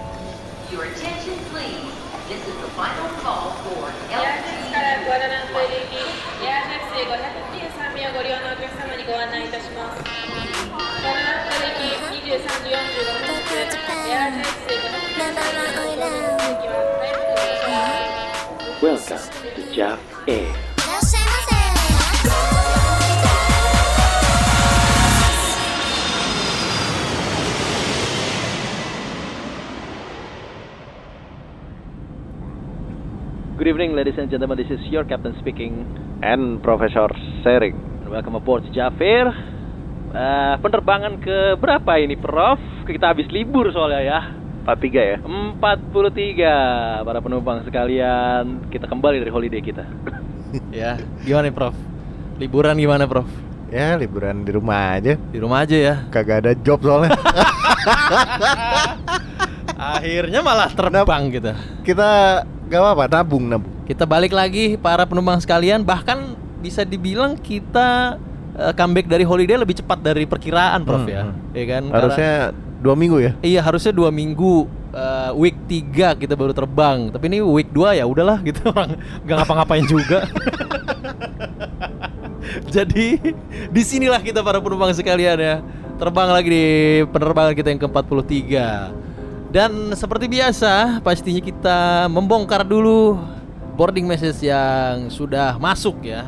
uh, ご利用のお客様にご案内いたします。ご覧の行き23時45分発、エアータクシーご乗車ください。Welcome to JAF A. いらっしゃいませ。 Good evening, ladies and gentlemen. This is your captain speaking and Professor Serik. Welcome aboard Jafir. Uh, penerbangan ke berapa ini, Prof? Kita habis libur soalnya ya. 43 ya? 43 para penumpang sekalian. Kita kembali dari holiday kita. ya, gimana nih, Prof? Liburan gimana, Prof? Ya, liburan di rumah aja. Di rumah aja ya. Kagak ada job soalnya. Akhirnya malah terbang kita. Kita gak apa-apa, nabung, nabung. Kita balik lagi para penumpang sekalian, bahkan bisa dibilang kita uh, comeback dari holiday lebih cepat dari perkiraan, Prof hmm, ya. Hmm. Ya kan? Harusnya Karena, dua minggu ya? Iya, harusnya dua minggu. Uh, week 3 kita baru terbang, tapi ini week 2 ya udahlah gitu orang gak ngapa-ngapain juga. Jadi disinilah kita para penumpang sekalian ya terbang lagi di penerbangan kita yang ke 43 dan seperti biasa, pastinya kita membongkar dulu boarding message yang sudah masuk ya.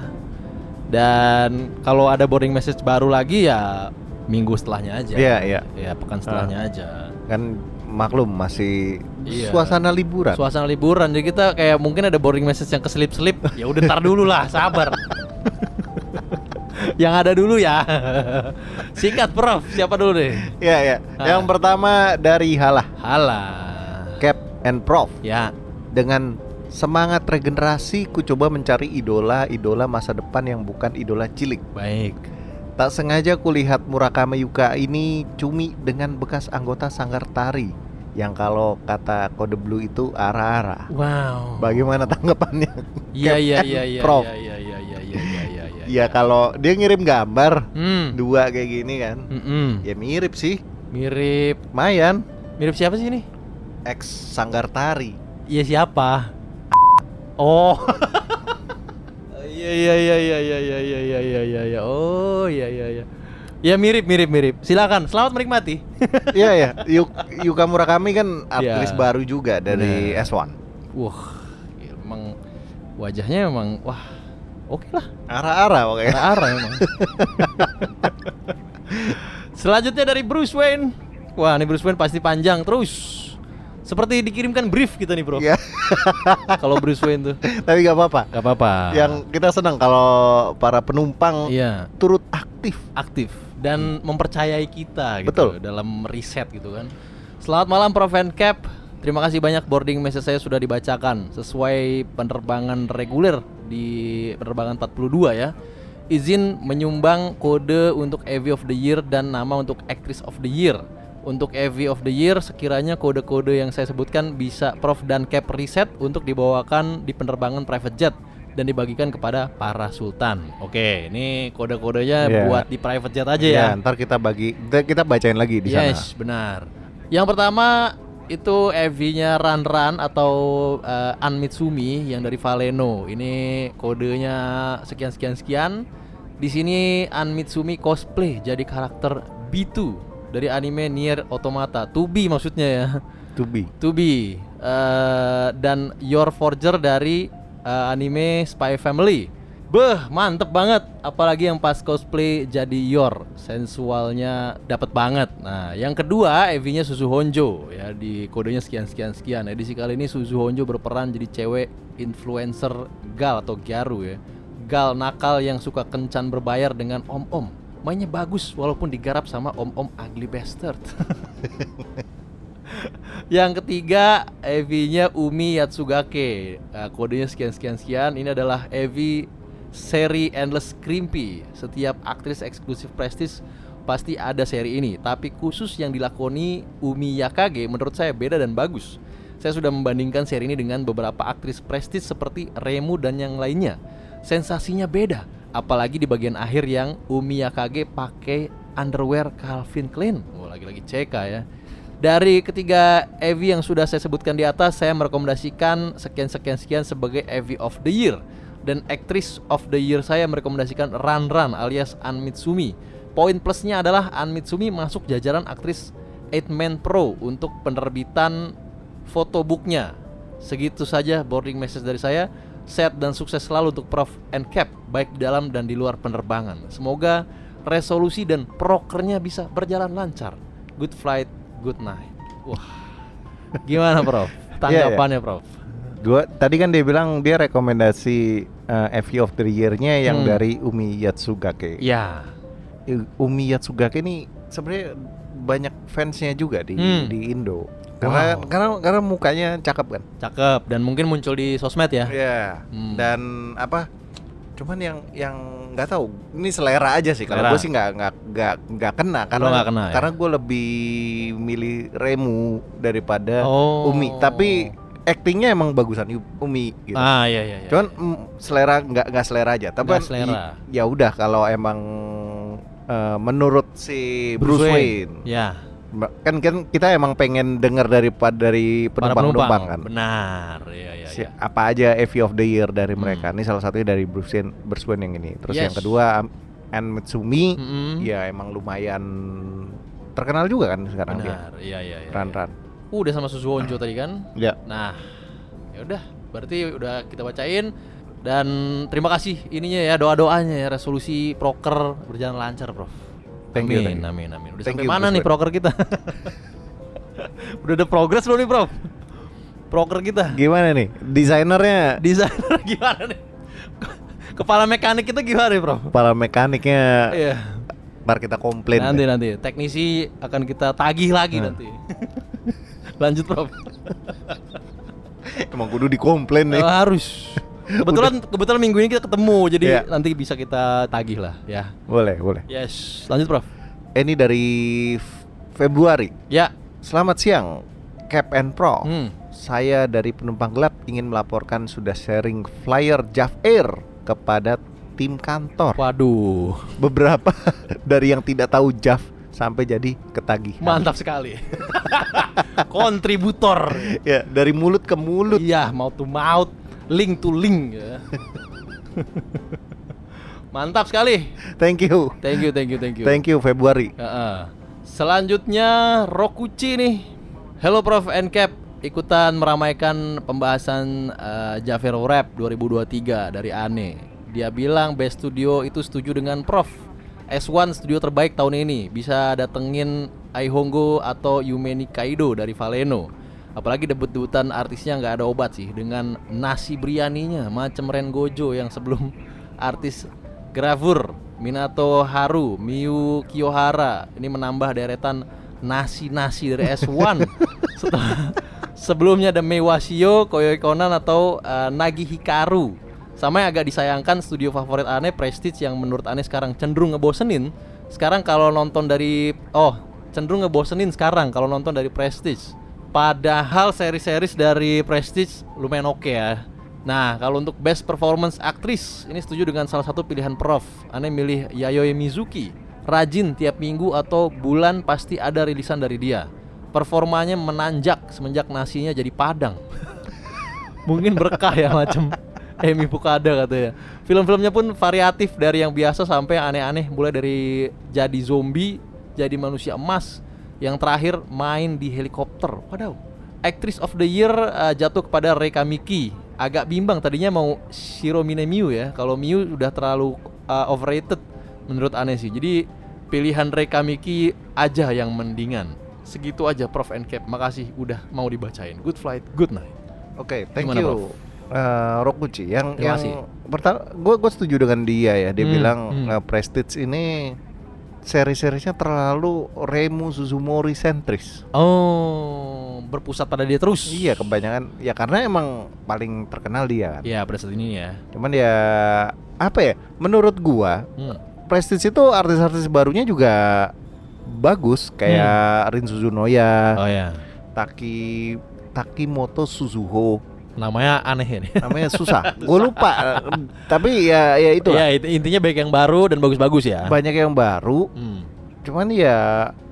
Dan kalau ada boarding message baru lagi ya minggu setelahnya aja. Iya, yeah, iya. Yeah. Ya, pekan setelahnya uh, aja. Kan maklum masih yeah. suasana liburan. Suasana liburan. Jadi kita kayak mungkin ada boarding message yang keselip-selip. ya udah ntar dulu lah, sabar. yang ada dulu ya. Singkat Prof, siapa dulu deh? Iya ya. ya. Yang pertama dari Halah. Halah. Cap and Prof. Ya. Dengan semangat regenerasi ku coba mencari idola-idola masa depan yang bukan idola cilik. Baik. Tak sengaja kulihat Murakame Yuka ini cumi dengan bekas anggota Sanggar Tari yang kalau kata kode blue itu ara-ara. Wow. Bagaimana tanggapannya? Iya iya iya iya iya iya iya iya iya iya. Ya kalau dia ngirim gambar hmm. dua kayak gini kan. Mm-mm. Ya mirip sih. Mirip. Mayan. Mirip siapa sih ini? Ex Sanggar Tari. Iya siapa? Oh. Iya iya iya iya iya iya iya iya iya iya. Oh iya iya iya. Ya mirip mirip mirip. Silakan, selamat menikmati. Iya ya, Yuk, Yuka Murakami kan aktris yeah. baru juga dari yeah. S1. Wah, emang wajahnya emang wah oke okay lah. Ara-ara oke. Ara-ara emang. Selanjutnya dari Bruce Wayne. Wah, ini Bruce Wayne pasti panjang terus. Seperti dikirimkan brief kita nih, Bro. Iya. Yeah. kalau Bruce Wayne tuh. Tapi gak apa-apa. Gak apa-apa. Yang kita senang kalau para penumpang yeah. turut aktif. Aktif dan hmm. mempercayai kita gitu Betul. dalam riset gitu kan. Selamat malam Prof Cap. Terima kasih banyak boarding message saya sudah dibacakan sesuai penerbangan reguler di penerbangan 42 ya. Izin menyumbang kode untuk AV of the Year dan nama untuk Actress of the Year. Untuk AV of the Year, sekiranya kode-kode yang saya sebutkan bisa Prof dan Cap riset untuk dibawakan di penerbangan private jet dan dibagikan kepada para sultan. Oke, ini kode-kodenya yeah. buat di private jet aja yeah, ya. Ntar kita bagi, kita bacain lagi di yes, sana. Yes, benar. Yang pertama itu EV-nya Ran Ran atau uh, An Mitsumi yang dari Valeno. Ini kodenya sekian sekian sekian. Di sini An Mitsumi cosplay jadi karakter B2 dari anime Nier Automata. Tubi maksudnya ya. Tubi. Tubi. Uh, dan Your Forger dari uh, anime Spy Family. Beh, mantep banget. Apalagi yang pas cosplay jadi Yor, sensualnya dapat banget. Nah, yang kedua Evinya Suzu Honjo ya di kodenya sekian sekian sekian. Edisi kali ini Suzu Honjo berperan jadi cewek influencer Gal atau Garu ya. Gal nakal yang suka kencan berbayar dengan om-om. Mainnya bagus walaupun digarap sama om-om ugly bastard. yang ketiga EV-nya Umi Yatsugake nah, kodenya sekian sekian sekian ini adalah EV seri Endless Crimpy setiap aktris eksklusif prestis pasti ada seri ini tapi khusus yang dilakoni Umi Yakage menurut saya beda dan bagus saya sudah membandingkan seri ini dengan beberapa aktris prestis seperti Remu dan yang lainnya sensasinya beda apalagi di bagian akhir yang Umi Yakage pakai underwear Calvin Klein oh lagi-lagi CK ya dari ketiga EV yang sudah saya sebutkan di atas, saya merekomendasikan sekian sekian sekian sebagai EV of the year. dan Actress of the Year saya merekomendasikan Ran Ran alias An Mitsumi. Poin plusnya adalah An Mitsumi masuk jajaran aktris 8 Man Pro untuk penerbitan fotobooknya. Segitu saja boarding message dari saya. Sehat dan sukses selalu untuk Prof and Cap baik di dalam dan di luar penerbangan. Semoga resolusi dan prokernya bisa berjalan lancar. Good flight, good night. Wah. Gimana, Iya, Prof? Tanggapannya, Prof? Gua tadi kan dia bilang dia rekomendasi eh, FU of the Year-nya yang Hmm. dari Umi Yatsugake. Ya. I- Umi Yatsugake ini sebenarnya banyak fansnya juga di Hmm. di Indo. Karena Wow. karena karena mukanya cakep kan. Cakep dan mungkin muncul di sosmed ya. Iya. Hmm. Dan apa? Cuman yang yang nggak tahu. Ini selera aja sih. Kalau Selera. gue sih nggak nggak nggak nggak kena karena nggak kena ya? karena gue lebih milih Remu daripada Oh. Umi. Tapi actingnya emang bagusan Yu- Umi. Gitu. Ah, iya iya iya. Cuman mm, selera nggak nggak selera aja. Tapi Nggak kan selera. i- ya udah kalau emang eh, menurut si Bruce, Bruce Wayne, ya, Ma- kan kan kita emang pengen dengar dari dari para penumpang-penumpang kan. Benar. Iya iya Si- iya. apa aja FU of the year dari Hmm. mereka. Ini salah satunya dari Bruce Wayne, Bruce Wayne yang ini. Terus Yes. Hmm. yang kedua Am- Anne Mitsumi Mm-mm. ya emang lumayan terkenal juga kan sekarang dia. Benar. Iya iya iya. Ran Ran. Udah sama Susu Onjo tadi kan? Ya. Nah, ya udah, berarti udah kita bacain dan terima kasih ininya ya doa-doanya ya resolusi proker berjalan lancar, Prof. Thank amin, you, thank you. amin, amin. Udah Thank sampai you, mana Gus nih Ben. proker kita? udah ada progres belum nih, Prof? Proker kita. Gimana nih? Desainernya Desainer gimana nih? Kepala mekanik kita gimana nih, Prof? kepala mekaniknya Iya. ntar kita komplain. Nanti deh. nanti teknisi akan kita tagih lagi Nah. nanti. Lanjut, Prof. Emang kudu dikomplain nih. Eh, harus. Kebetulan kebetulan minggu ini kita ketemu, jadi Iya. nanti bisa kita tagih lah ya. Boleh, boleh. Eh, Yes, lanjut Prof. Ini dari F- Februari. Ya. Selamat siang, Cap and Pro. Hmm. Saya dari penumpang gelap ingin melaporkan sudah sharing flyer Jav Air kepada tim kantor. Waduh, Beberapa dari yang tidak tahu Jav sampai jadi ketagihan. mantap sekali. Kontributor. Ya, dari mulut ke mulut. Iya, mau to mouth, link to link. ya. mantap sekali. Thank you. Thank you, thank you, thank you. Thank you Februari. Heeh. Selanjutnya Rokuchi nih. Hello Prof and Cap, ikutan meramaikan pembahasan eh, Javero Rap 2023 dari Ane. Dia bilang Best Studio itu setuju dengan Prof. S1 studio terbaik tahun ini. Bisa datengin Aihongo atau Yumeni Kaido dari Valeno. Apalagi debut-debutan artisnya nggak ada obat sih dengan nasi brianinya macam Ren Gojo yang sebelum artis Gravur, Minato Haru, Miyu Kiyohara ini menambah deretan nasi-nasi dari S1 setelah sebelumnya ada Mewashio, Koyoi Konan atau eh, Nagi Hikaru. Sama yang agak disayangkan studio favorit aneh Prestige yang menurut aneh sekarang cenderung ngebosenin. Sekarang kalau nonton dari oh, cenderung ngebosenin sekarang kalau nonton dari Prestige. Padahal seri-seri dari Prestige lumayan oke ya. Nah, kalau untuk best performance aktris, ini setuju dengan salah satu pilihan Prof. Aneh milih Yayoi Mizuki. Rajin tiap minggu atau bulan pasti ada rilisan dari dia. Performanya menanjak semenjak nasinya jadi padang. Mungkin berkah ya macam Emi Pukada katanya. Film-filmnya pun variatif dari yang biasa sampai yang aneh-aneh, mulai dari jadi zombie, jadi manusia emas, yang terakhir main di helikopter. Waduh. Actress of the Year eh, jatuh kepada Reka Miki. Agak bimbang tadinya mau Shiromine Miu ya. Kalau Miu udah terlalu eh, overrated menurut aneh sih. Jadi pilihan Reka Miki aja yang mendingan. Segitu aja Prof and Cap. Makasih udah mau dibacain. Good flight, good night. Oke, thank Gimana, you. Eh, Rokuchi yang Terima kasih. yang pertama gue gue setuju dengan dia ya dia Hmm, bilang hmm. eh, Prestige ini seri-serinya terlalu Remu Suzumori sentris Oh, berpusat pada dia terus. Iya kebanyakan ya karena emang paling terkenal dia kan. Iya, pada saat ini ya. Cuman ya apa ya? Menurut gua Hmm. Prestige itu artis-artis barunya juga bagus kayak Rin Suzunoya, Hmm. Oh ya. Taki Takimoto Suzuho. Namanya aneh ya nih. Namanya susah. gua lupa. Tapi ya ya itu Iya, int- intinya baik yang baru dan bagus-bagus ya. Banyak yang baru, Hmm. cuman ya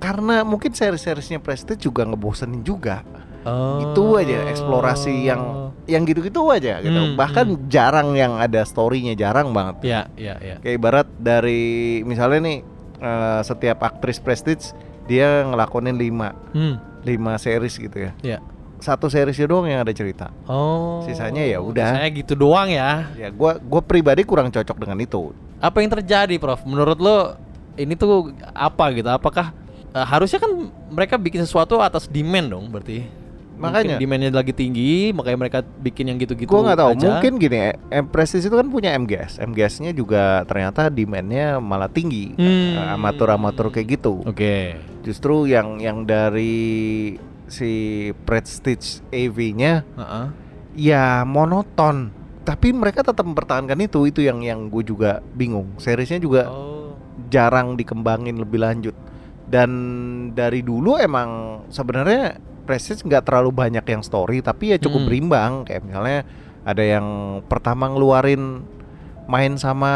karena mungkin seri-serinya Prestige juga ngebosenin juga. Oh. Itu aja eksplorasi yang yang gitu-gitu aja gitu. Hmm, Bahkan jarang yang ada story-nya, jarang banget. ya ya ya Kayak ibarat dari misalnya nih eh, setiap aktris prestige dia ngelakonin 5 hmm. 5 series gitu ya. Iya. Satu seriesnya doang yang ada cerita. oh Sisanya ya udah. sisanya gitu doang ya Ya gua gua pribadi kurang cocok dengan itu. apa yang terjadi Prof menurut lo ini tuh apa gitu apakah eh, harusnya kan mereka bikin sesuatu atas demand dong berarti Makanya. Mungkin demandnya lagi tinggi makanya mereka bikin yang gitu-gitu gua nggak tahu, aja. mungkin gini, eh, M Prestige itu kan punya MGS. MGS-nya juga ternyata demand-nya malah tinggi. Hmm. Eh, Amatur-amatur kayak gitu. oke Justru yang yang dari si Prestige AV-nya Heeh. ya monoton. Tapi mereka tetap mempertahankan itu, itu yang yang gue juga bingung. Seriesnya juga oh jarang dikembangin lebih lanjut dan dari dulu emang sebenarnya Prestige nggak terlalu banyak yang story tapi ya cukup Hmm. berimbang kayak misalnya ada yang pertama ngeluarin main sama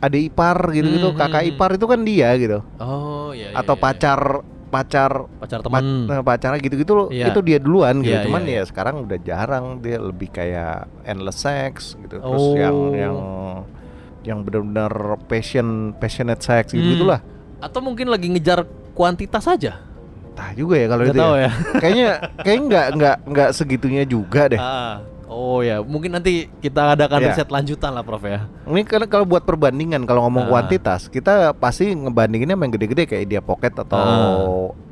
adik ipar gitu-gitu Hmm, kakak hmm, hmm. ipar itu kan dia gitu oh ya ya, atau ya, ya. pacar pacar pacar pa- teman eh, pacarnya gitu-gitu loh Iya. itu dia duluan gitu Iya, cuman ya iya, sekarang udah jarang dia lebih kayak endless sex gitu terus yang Oh. yang yang benar-benar passion passionate sex Hmm. gitu-gitulah atau mungkin lagi ngejar kuantitas aja Tah juga ya kalau nggak itu tahu ya. ya, Kayaknya kayaknya nggak nggak nggak segitunya juga deh. Ah, oh ya mungkin nanti kita adakan Iya. riset lanjutan lah Prof ya Ini karena kalau buat perbandingan kalau ngomong Ah. kuantitas, kita pasti ngebandinginnya sama yang gede-gede kayak dia pocket atau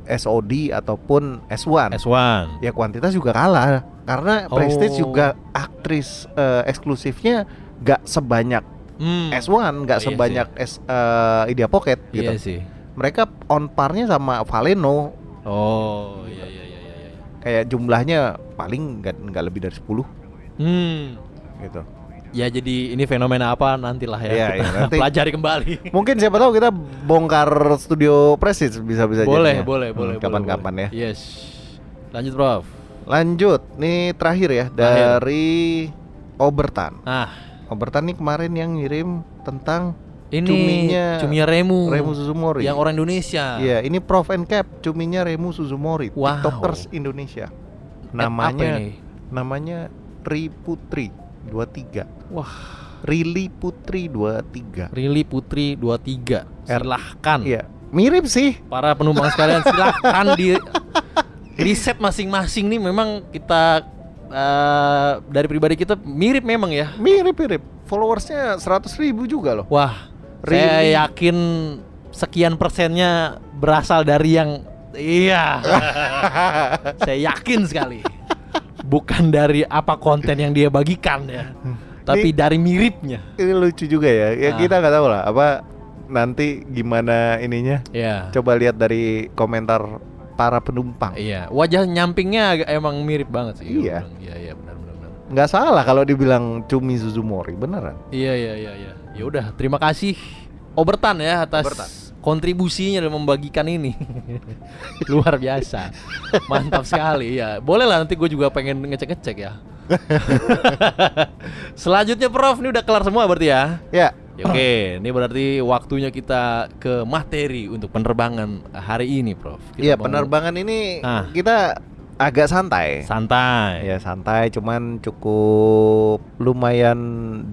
Ah. SOD ataupun S1. S1 Ya kuantitas juga kalah karena Oh. Prestige juga aktris eh, eksklusifnya nggak sebanyak Hmm, S1, nggak Iya sih. sebanyak S, eh, Idea Pocket gitu. iya sih Mereka on parnya sama Valeno oh iya iya iya iya, iya. kayak jumlahnya paling nggak nggak lebih dari 10 Hmm. gitu. Ya jadi ini fenomena apa nantilah ya Iya, kita iya, nanti- pelajari kembali. Mungkin siapa tahu kita bongkar studio Presis bisa-bisa jadinya. boleh, boleh, Hmm, boleh, boleh. Kapan-kapan ya. boleh. Yes. Lanjut, Prof. Lanjut, nih terakhir ya dari Obertan. Nah, Obertan nih kemarin yang ngirim tentang ini cuminya, Cuminya- Remu. Remu Suzumori. Hmm, Yang orang Indonesia. Iya, ini Prof and Cap, cuminya Remu Suzumori, Wow. TikTokers Indonesia. Eh, apa Namanya ini? namanya Ri Putri 23. Wah. Rili Putri 23. Rili Putri 23. Er- Silahkan Iya, mirip sih. para penumpang sekalian silahkan di riset masing-masing nih memang kita eh, dari pribadi kita mirip memang ya. Mirip-mirip. Followersnya 100.000 ribu juga loh. Wah, saya Really? yakin sekian persennya berasal dari yang iya. saya yakin sekali. Bukan dari apa konten yang dia bagikan ya. Tapi dari miripnya. ini lucu juga ya. Ya Ah. kita nggak tahu lah apa nanti gimana ininya. Ya. Coba lihat dari komentar para penumpang. Iya, wajah nyampingnya agak emang mirip banget sih. Iya. bener. Iya, iya benar benar benar. Nggak salah kalau dibilang cumi Suzumori beneran. Iya, iya, iya, iya. Ya udah, terima kasih Obertan ya atas Obertan. kontribusinya dan membagikan ini. Luar biasa. Mantap sekali ya. Boleh lah nanti gue juga pengen ngecek-ngecek ya. Selanjutnya Prof, ini udah kelar semua berarti ya. Ya, Ya, Oke, ini berarti waktunya kita ke materi untuk penerbangan hari ini, Prof. iya Kita mau penerbangan ini Ah. kita agak santai. santai. Ya santai, cuman cukup lumayan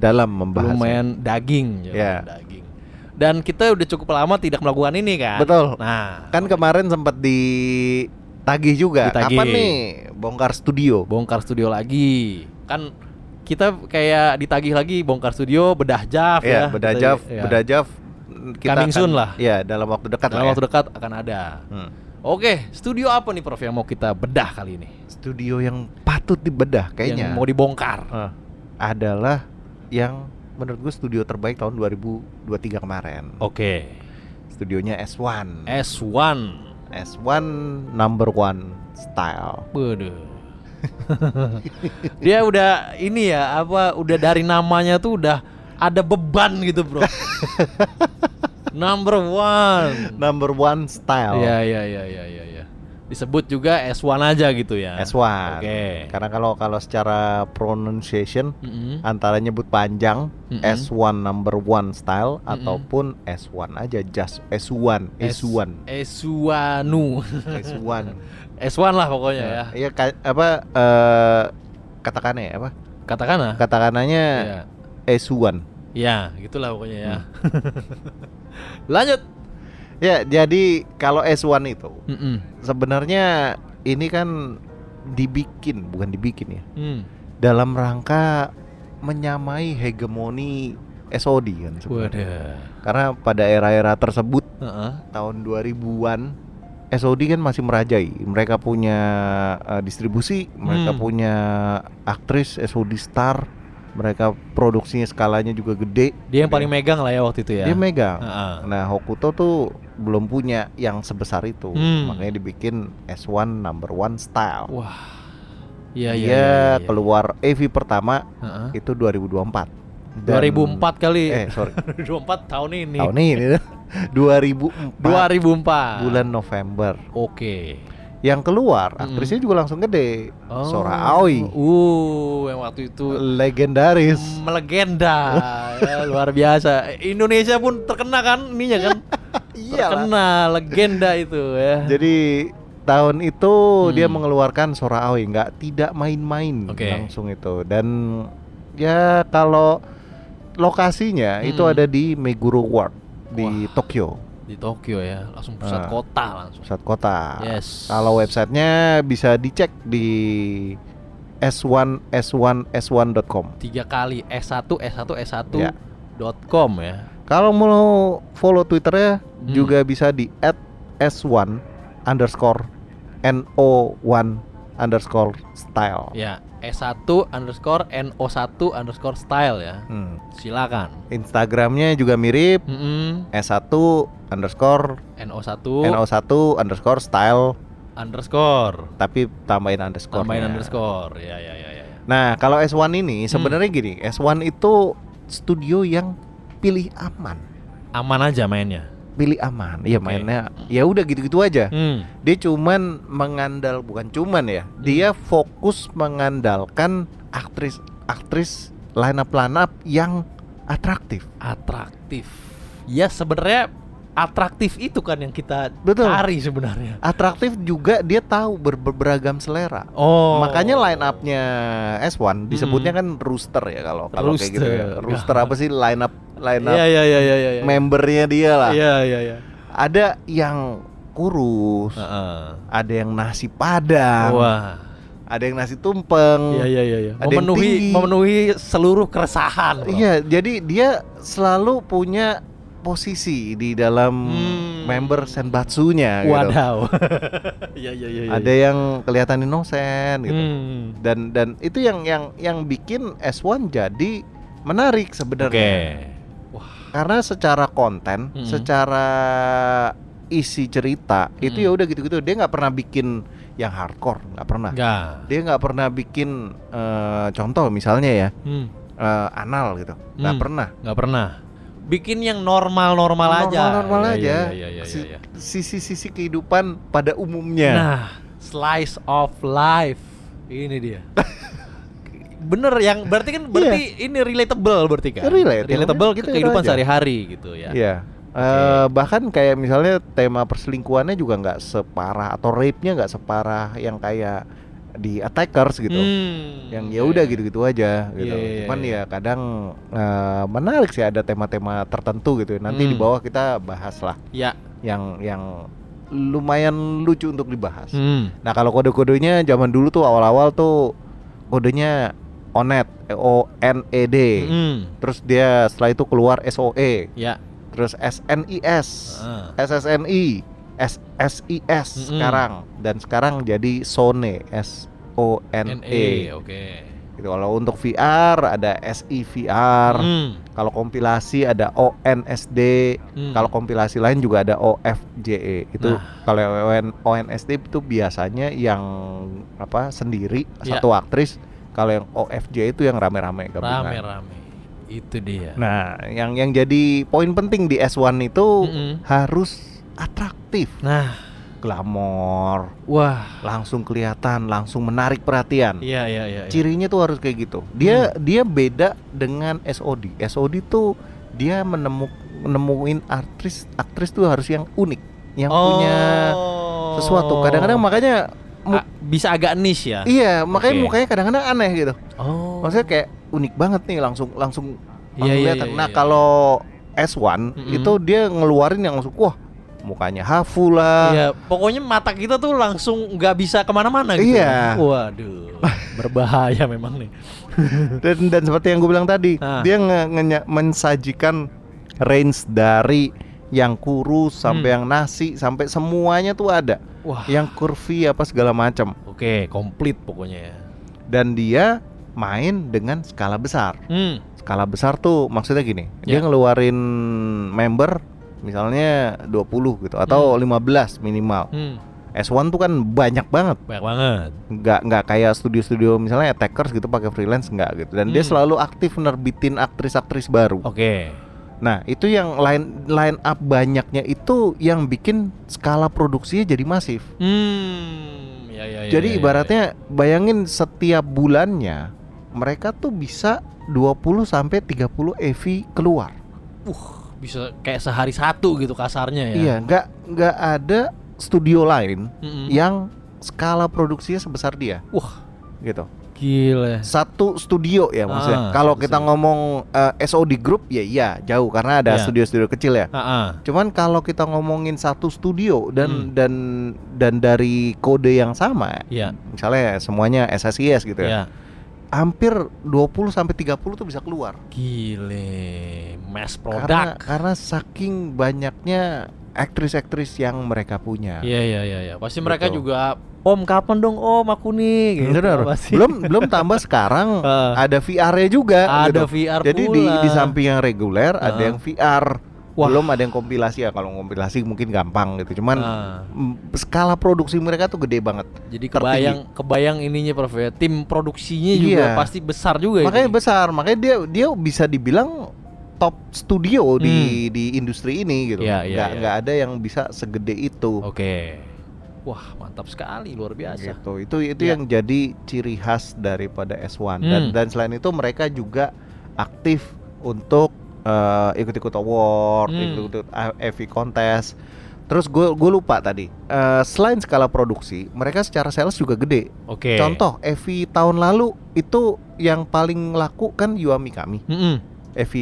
dalam membahas. lumayan daging ya, Iya. daging. Dan kita udah cukup lama tidak melakukan ini kan? Betul. Nah, Kan kemarin sempat ditagih juga. Ditagih. Kapan nih bongkar studio? bongkar studio lagi kan kita kayak ditagih lagi bongkar studio bedah Jav Iya, ya, bedah Kita- Jav, ya. bedah Jav, kita Coming soon lah. Iya, dalam waktu dekat dalam lah ya. waktu dekat akan ada Hmm. oke studio apa nih Prof yang mau kita bedah kali ini Studio yang patut dibedah kayaknya yang mau dibongkar Eh, adalah yang menurut gue studio terbaik tahun 2023 kemarin. oke Studionya S1. Eh. S1 S1 number one style. Waduh dia udah ini ya apa udah dari namanya tuh udah ada beban gitu bro number one Number one style. Oh. Iya iya iya iya iya. Ya. disebut juga S1 aja gitu ya. S1. Oke. Karena kalau kalau secara pronunciation Mm-mm. antara nyebut panjang Mm-mm. S1 number one style Mm-mm. ataupun S1 aja just S1 S1 Esuanu. S1 S1 lah pokoknya ya. ya ka- apa eh katakannya ya, apa Katakanlah. katakananya Ya. S1 ya, gitulah pokoknya ya. Lanjut. ya jadi kalau S1 itu Mm-mm. sebenarnya ini kan dibikin bukan dibikin ya Hmm. dalam rangka menyamai hegemoni SOD kan sebenarnya. Waduh. Karena pada era-era tersebut Heeh. tahun 2000-an SOD kan masih merajai. Mereka punya eh, distribusi, mereka Hmm. punya aktris SOD star, mereka produksinya skalanya juga gede. Dia yang paling megang lah ya waktu itu ya. Dia megang. Heeh. Nah, Hokuto tuh belum punya yang sebesar itu. Hmm. Makanya dibikin S1 number one style. Wah. Iya Dia iya. iya, iya. keluar EV pertama Heeh. itu 2024. Dan- 2004 kali. eh sorry 2004 tahun ini. tahun ini 2004 2004. bulan November Oke. yang keluar Mm-mm. aktrisnya juga langsung gede Hmm. Oh. Sora Aoi Uh, yang waktu itu legendaris melegenda ya, luar biasa. Indonesia pun terkena kan ininya kan? Iyalah. Terkena legenda itu ya. jadi tahun itu dia Hmm. mengeluarkan Sora Aoi nggak tidak main-main Oke. langsung itu dan ya kalau lokasinya itu Mm. ada di Meguro Ward di Tokyo Di Tokyo ya, langsung Ah. pusat kota langsung. pusat kota Yes. Kalau websitenya bisa dicek di s1 s1 s1.com. tiga kali S1 S1 S1 Ya. dot com ya. Kalau mau follow twitternya Hmm. juga bisa di @s1 underscore no1 underscore style. Ya, S1 underscore NO1 underscore style ya. Hmm. Silakan. Instagramnya juga mirip Mm-mm. s1 underscore NO1 no1 underscore style underscore. tapi tambahin underscore. Tambahin underscore. Hmm. Ya ya ya ya. ya. Nah kalau S1 ini sebenarnya gini S1 itu studio yang pilih aman. Aman aja mainnya. pilih aman. Iya mainnya ya udah gitu-gitu aja. Hmm. Dia cuman mengandal bukan cuman ya. Dia fokus mengandalkan aktris-aktris line up line up yang atraktif. Atraktif. Ya sebenarnya atraktif itu kan yang kita Betul. cari sebenarnya. Atraktif juga dia tahu ber- berberagam selera. Oh. Hmm. Makanya line upnya S1 disebutnya kan rooster ya kalau kalau kayak gitu ya. Rooster. Rooster apa sih line up line up Iya iya iya iya ya. iya. membernya dia lah. Iya iya iya. Ada yang kurus, Heeh. ada yang nasi padang, Wah. ada yang nasi tumpeng. Iya iya iya iya. ada yang Memenuhi tinggi. memenuhi seluruh keresahan. bro. Iya, jadi dia selalu punya posisi di dalam Hmm. member senbatsunya gitu. Wadaw. Iya iya iya. iya. Ada yang kelihatan inosen gitu. Hmm. Dan dan itu yang yang yang bikin S1 jadi menarik Oke. sebenarnya. Karena secara konten, Mm-mm. secara isi cerita itu ya Mm-mm. udah gitu-gitu. Dia nggak pernah bikin yang hardcore, nggak pernah. Enggak. Dia nggak pernah bikin eh, contoh misalnya ya Hmm. eh, anal gitu, nggak Hmm. pernah. Nggak pernah. Bikin yang normal-normal aja. Normal-normal Iya, iya, aja. Iya iya iya. Si- iya. sisi-sisi kehidupan pada umumnya. Nah, slice of life ini dia. Bener yang berarti kan berarti ini relatable berarti Iya. kan? Relatable, relatable gitu ke kehidupan aja. sehari-hari gitu ya. Iya. Eh, bahkan kayak misalnya tema perselingkuhannya juga nggak separah atau rape-nya nggak separah yang kayak di attackers gitu. Hmm, Yang iya, ya udah iya. gitu-gitu aja gitu. Iya, iya, Cuman ya iya. kadang eh, menarik sih ada tema-tema tertentu gitu. Nanti di Hmm. bawah kita bahas lah Ya. yang yang lumayan lucu untuk dibahas. Hmm. Nah, kalau kode-kodenya zaman dulu tuh awal-awal tuh kodenya ONED, O N E D. Hmm. Terus dia setelah itu keluar SOE, Ya. terus SNIS, Heeh. SSNI, SSIS Mm-mm. sekarang dan sekarang jadi SONE, S O N E. oke. Gitu. Kalau untuk VR ada SIVR, Hmm. kalau kompilasi ada ONSD, Hmm. Nah. kalau kompilasi lain juga ada OFJE. E. Itu kalau ON, ONSD itu biasanya yang apa sendiri Ya. satu aktris. Kalau yang OFJE E itu yang rame-rame gabungan. rame-rame. Itu dia. Nah, yang yang jadi poin penting di S1 itu Mm-mm. harus atraktif. Hmm. Nah, glamor, Wah. langsung kelihatan, langsung menarik perhatian. Iya iya iya. Hmm. iya. Cirinya tuh harus kayak gitu. Dia dia beda dengan SOD. SOD tuh dia menemu nemuin artis aktris tuh harus yang unik, yang punya Oh. sesuatu. Kadang-kadang makanya mu- A- bisa agak niche ya. iya, makanya Ah, Oke. mukanya kadang-kadang aneh gitu. Oh. Maksudnya kayak unik banget nih langsung langsung langsung Iya, iya, kelihatan. iya, Nah, iya. kalau S1 Mm-mm. itu dia ngeluarin yang langsung wah mukanya hafu lah. Iya, pokoknya mata kita tuh langsung nggak bisa kemana-mana gitu. Iya. Waduh, berbahaya memang nih. Dan dan seperti yang gue bilang tadi, Ah. dia nge, ngenya- mensajikan range dari yang kurus sampai Hmm. yang nasi sampai semuanya tuh ada. Wah, Yang curvy apa segala macam. oke, komplit pokoknya ya. Dan dia main dengan skala besar. Hmm, skala besar tuh maksudnya gini dia Ya. ngeluarin member misalnya 20 gitu atau 15 minimal hmm, S1 tuh kan banyak banget banyak banget. nggak nggak kayak studio-studio misalnya attackers gitu pakai freelance nggak gitu dan dia Hmm. selalu aktif nerbitin aktris-aktris baru Oke. nah itu yang line line up banyaknya itu yang bikin skala produksinya jadi masif Hmm, ya ya. ya, ya, jadi ya, ibaratnya bayangin setiap bulannya mereka tuh bisa 20 sampai 30 EV keluar ya. uh, bisa kayak sehari satu gitu kasarnya ya. Iya, nggak nggak ada studio lain Mm-mm. yang skala produksinya sebesar dia Wah, gitu. gila. Satu studio ya maksudnya. Eh. Ah, Kalau satu kita studio. ngomong eh, SOD Group ya iya jauh karena ada Iya. studio-studio kecil ya. Ah, Cuman kalau kita ngomongin satu studio dan Hmm. dan dan dari kode yang sama, Iya. misalnya semuanya SSIS gitu ya. ya. Hampir 20 sampai 30 tuh bisa keluar. Gile, mass Karena product. karena saking banyaknya aktris-aktris yang mereka punya. Iya iya iya iya. Pasti mereka Betul. juga Om kapan dong Om aku nih gitu. Bener. Pasti. Iya, Belum belum tambah sekarang Eh. ada VR-nya juga. gitu. ada VR Jadi pula. di di samping yang reguler ada Eh. yang VR. Wah. Belum ada yang kompilasi ya. Kalau kompilasi mungkin gampang gitu. Cuman Ah. mm, skala produksi mereka tuh gede banget. Jadi tertinggi. kebayang kebayang ininya Prof ya. Tim produksinya juga Iya. pasti besar juga ya makanya ini. besar. Makanya dia dia bisa dibilang top studio Hmm. di di industri ini gitu. Iya, iya, nggak iya. nggak ada yang bisa segede itu. Oke. Wah, mantap sekali luar Oh, biasa. Gitu. Itu itu Iya. yang jadi ciri khas daripada S1 dan Hmm. dan selain itu mereka juga aktif untuk eh, ikut-ikut award, Hmm. ikut-ikut AV contest. Terus gue gue lupa tadi. eh, selain skala produksi, mereka secara sales juga gede. Oke. Contoh EV tahun lalu itu yang paling laku kan Yuami Kami. Mm-mm. EV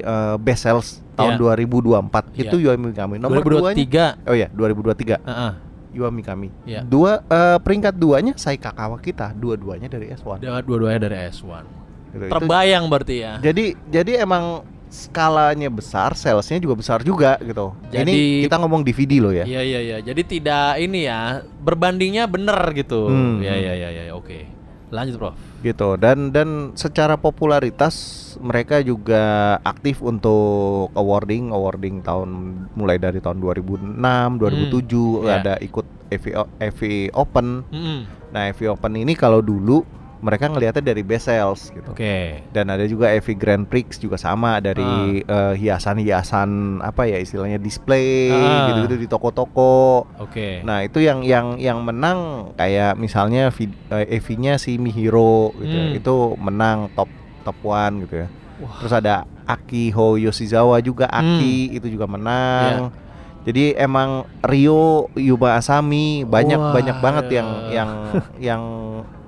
eh, best sales Iya. tahun 2024 itu Yuami Kami. Nomor 2 2023. Oh ya, 2023 Heeh. Yuami Kami. Iya. Dua eh, peringkat duanya saya Kakawa kita, dua-duanya dari S1. Dapat dua-duanya dari S1. Gitu. Itu- Iya, Terbayang berarti ya. jadi jadi emang skalanya besar, salesnya juga besar juga gitu. Jadi- Ini kita ngomong DVD loh ya. Iya iya iya. Jadi tidak ini ya, berbandingnya bener gitu. Hmm. Iya iya iya iya. Oke. Lanjut, Prof. Gitu. Dan dan secara popularitas mereka juga aktif untuk awarding, awarding tahun mulai dari tahun 2006, 2007 Hmm, Iya. ada ikut EV o- EV Open. Mm-mm. Nah, EV Open ini kalau dulu mereka ngelihatnya dari best sales gitu. Oke. dan ada juga EV Grand Prix juga sama dari eh, hiasan-hiasan apa ya istilahnya display Ah. gitu-gitu di toko-toko. Oke. Nah, itu yang yang yang menang kayak misalnya vid- eh, EV-nya si Mihiro gitu ya. Hmm. Itu menang top top one gitu ya. Wah. Hmm. Terus ada Akiho Yoshizawa juga Aki itu juga menang. Iya. Jadi emang Rio Yuba Asami banyak Wah. iya. banyak banget yang yang yang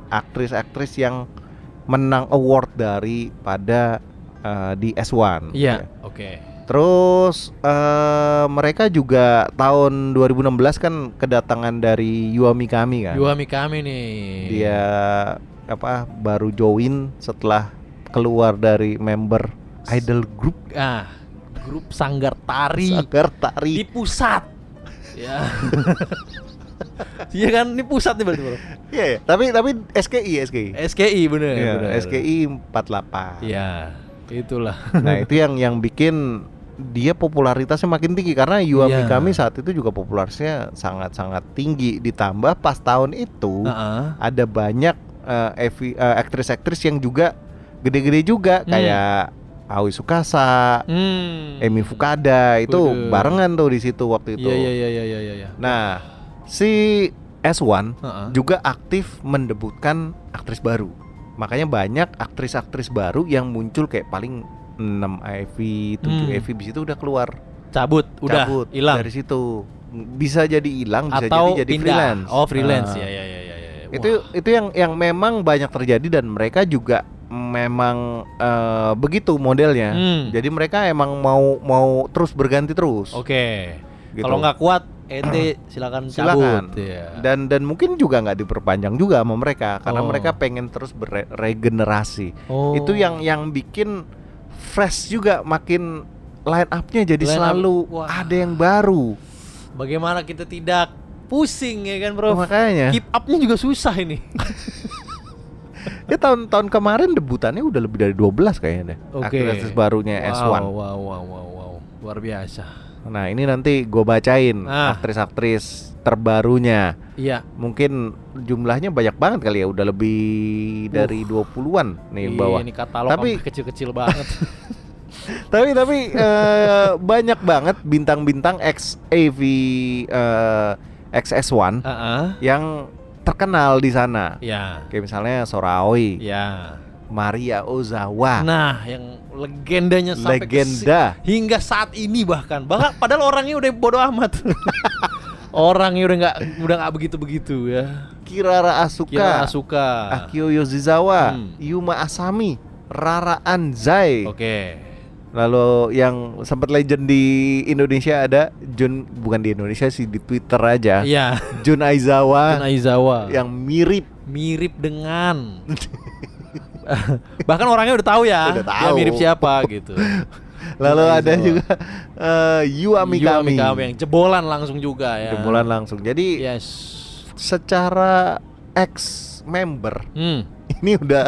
aktris-aktris yang menang award dari pada eh, di S1. gitu Iya. ya. Oke. Terus eh, mereka juga tahun 2016 kan kedatangan dari Yuami Kami kan. Yuami kami nih. Dia apa baru join setelah keluar dari member idol group ah grup Sanggar Tari Agar di Tari. pusat. Ya. Iya kan ini pusat nih berarti bro. Iya, ya. tapi tapi SKI SKI. SKI bener. Iya, bener. SKI 48. Iya. Itulah. Nah, itu yang yang bikin dia popularitasnya makin tinggi karena Yuami Iya. kami saat itu juga popularitasnya sangat-sangat tinggi ditambah pas tahun itu Heeh. ada banyak eh, evi- eh, aktris-aktris yang juga gede-gede juga Hmm. kayak Aoi Sukasa, Hmm. Emi gitu. Fukada itu Waduh. barengan tuh di situ waktu itu. Iya iya iya iya iya iya. Nah, si S1 Heeh. juga aktif mendebutkan aktris baru. Makanya banyak aktris-aktris baru yang muncul kayak paling 6 EV, 7 Hmm. EV bis itu udah keluar, Cabut, udah cabut hilang. dari situ. Bisa jadi hilang, bisa atau jadi jadi pindah. freelance. Oh, freelance. Ah. Ya, ya, ya, ya, ya. Itu Wah. itu yang yang memang banyak terjadi dan mereka juga memang eh, begitu modelnya. Hmm. Jadi mereka emang mau mau terus berganti terus. Oke. gitu. Kalau nggak kuat, ente silakan silakan. cabut. Iya. Dan dan mungkin juga nggak diperpanjang juga sama mereka karena Oh. mereka pengen terus beregenerasi. Oh. Itu yang yang bikin fresh juga makin line up-nya jadi Line up. selalu Wah. ada yang baru. Bagaimana kita tidak pusing ya kan, Bro? Makanya. Keep up-nya juga susah ini. Ya tahun-tahun kemarin debutannya udah lebih dari 12 kayaknya deh. Oke. Aktris barunya S1. Wow, wow, wow, wow, wow. Luar biasa. Nah, ini nanti gue bacain Ah. aktris-aktris terbarunya. Iya. Mungkin jumlahnya banyak banget kali ya, udah lebih dari 20-an nih Ih, bawah. Uh. Iya, Ini katalog Tapi- sampai kecil-kecil banget. Tapi tapi eh, banyak banget bintang-bintang ex AV eh, XS1 Heeh. yang terkenal di sana. Ya. Kayak misalnya Soraoi, Ya. Maria Ozawa, Nah, yang legendanya sampai ke si- Ah. legenda. hingga saat ini bahkan bahkan padahal orangnya udah bodoh amat orangnya udah nggak udah nggak begitu begitu ya Kirara Asuka, kira suka Akio Yozizawa, Hmm. Yuma Asami, Rara Anzai. oke Lalu yang sempat legend di Indonesia ada Jun bukan di Indonesia sih di Twitter aja. iya Jun Dan Aizawa Aizawa yang mirip mirip dengan bahkan orangnya udah tahu ya Udah dia tahu. mirip siapa gitu Lalu Jun ada Aizawa. juga eh Yu Amikami. Mikami yang jebolan langsung juga ya Jebolan langsung. Jadi yes secara ex member hmm. ini udah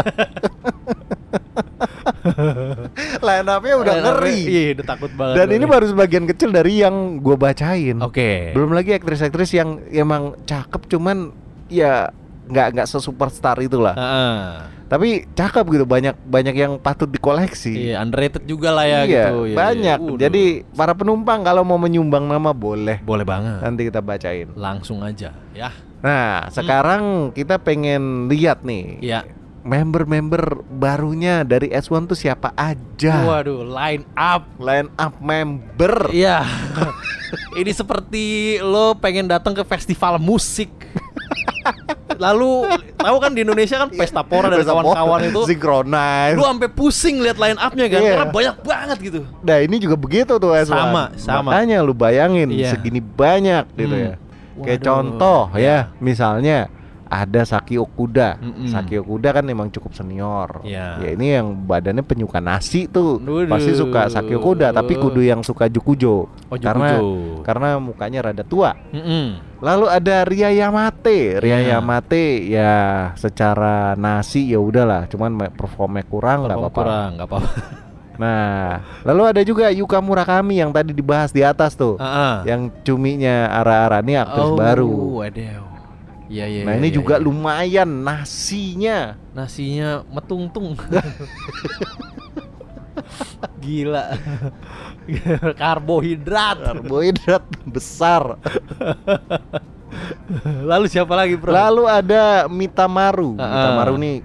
line up-nya udah Eh, ngeri. iya udah takut banget Dan gua ini nih. baru sebagian kecil dari yang gue bacain. oke Belum lagi aktris-aktris yang emang cakep cuman ya nggak nggak sesuperstar itulah. Heeh. Tapi cakep gitu banyak banyak yang patut dikoleksi. iya underrated juga lah ya Iya, gitu Iya, iya. banyak. Waduh. Jadi para penumpang kalau mau menyumbang nama boleh. boleh banget Nanti kita bacain. langsung aja ya Nah, sekarang kita pengen lihat nih Hmm. iya member-member barunya dari S1 tuh siapa aja. waduh line up Line up member. iya ini seperti lo pengen datang ke festival musik lalu tahu kan di Indonesia Iya. kan pesta pora dan kawan-kawan itu Synchronize. lu sampai pusing lihat line up-nya kan Iya. karena banyak banget gitu Nah ini juga begitu tuh S1 Sama, sama. Makanya lu bayangin Iya. segini banyak gitu Hmm. ya Kayak Waduh. contoh Iya. ya Misalnya ada Saki Okuda Mm-mm. Saki Okuda kan emang cukup senior Iya. Ya ini yang badannya penyuka nasi tuh Waduh. Pasti suka Saki Okuda Tapi kudu yang suka Jukujo Oh, Karena Jukujo. karena mukanya rada tua Mm-mm. Lalu ada Ria Yamate Ria Iya. Yamate ya secara nasi ya udahlah Cuman me- performnya kurang nggak Perform apa-apa kurang nggak apa-apa Nah, lalu ada juga Yuka Murakami yang tadi dibahas di atas tuh. Heeh. Yang cuminya ara-ara ini aktris Ya, baru. waduh Iya, iya, Nah, iya, ini iya, juga iya. lumayan nasinya. nasinya metungtung gila karbohidrat Karbohidrat besar. lalu siapa lagi bro Lalu ada Mitamaru. Ah, ah. Mitamaru nih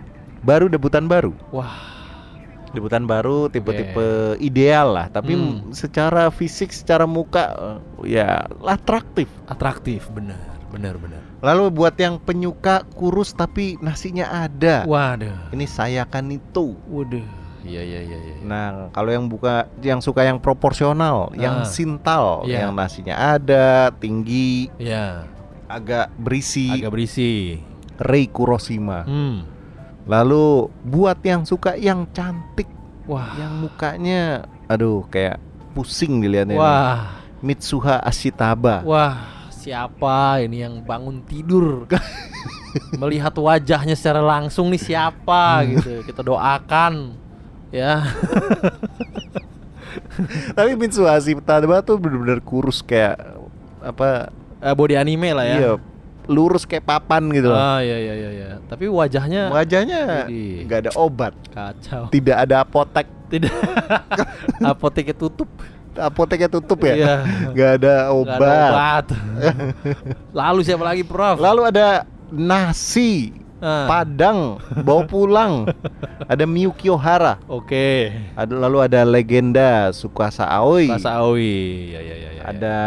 baru debutan baru. wah Debutan baru tipe-tipe ideal lah, tapi Hmm. secara fisik, secara muka eh, ya atraktif. atraktif benar benar benar Lalu buat yang penyuka kurus tapi nasinya ada. waduh Ini sayakan itu. waduh iya iya iya iya Nah, kalau yang buka yang suka yang proporsional, yang Ah. sintal, Iya. yang nasinya ada, tinggi, ya agak berisi, agak berisi Rei Kuroshima. hmm Lalu buat yang suka yang cantik, wah yang mukanya aduh kayak pusing dilihatnya. nih. wah Mitsuha Ashitaba. wah siapa ini yang bangun tidur melihat wajahnya secara langsung nih Hmm. siapa gitu kita doakan ya Tapi Mitsuha Ashitaba tuh bener-bener kurus kayak apa? Eh, body anime lah ya Iya, lurus kayak papan gitu loh. Ah iya iya iya iya. Tapi wajahnya Wajahnya Widih. nggak ada obat, kacau. tidak ada apotek. Tidak. Apoteknya tutup. apoteknya tutup ya Iya. nggak ada Nggak ada obat obat. Lalu siapa lagi Prof? lalu ada nasi Ah, padang bawa pulang ada Miyuki Ohara Oke. ada lalu ada legenda Sukasa Aoi Bahasa Aoi. Iya. Ya ya ya ya. ada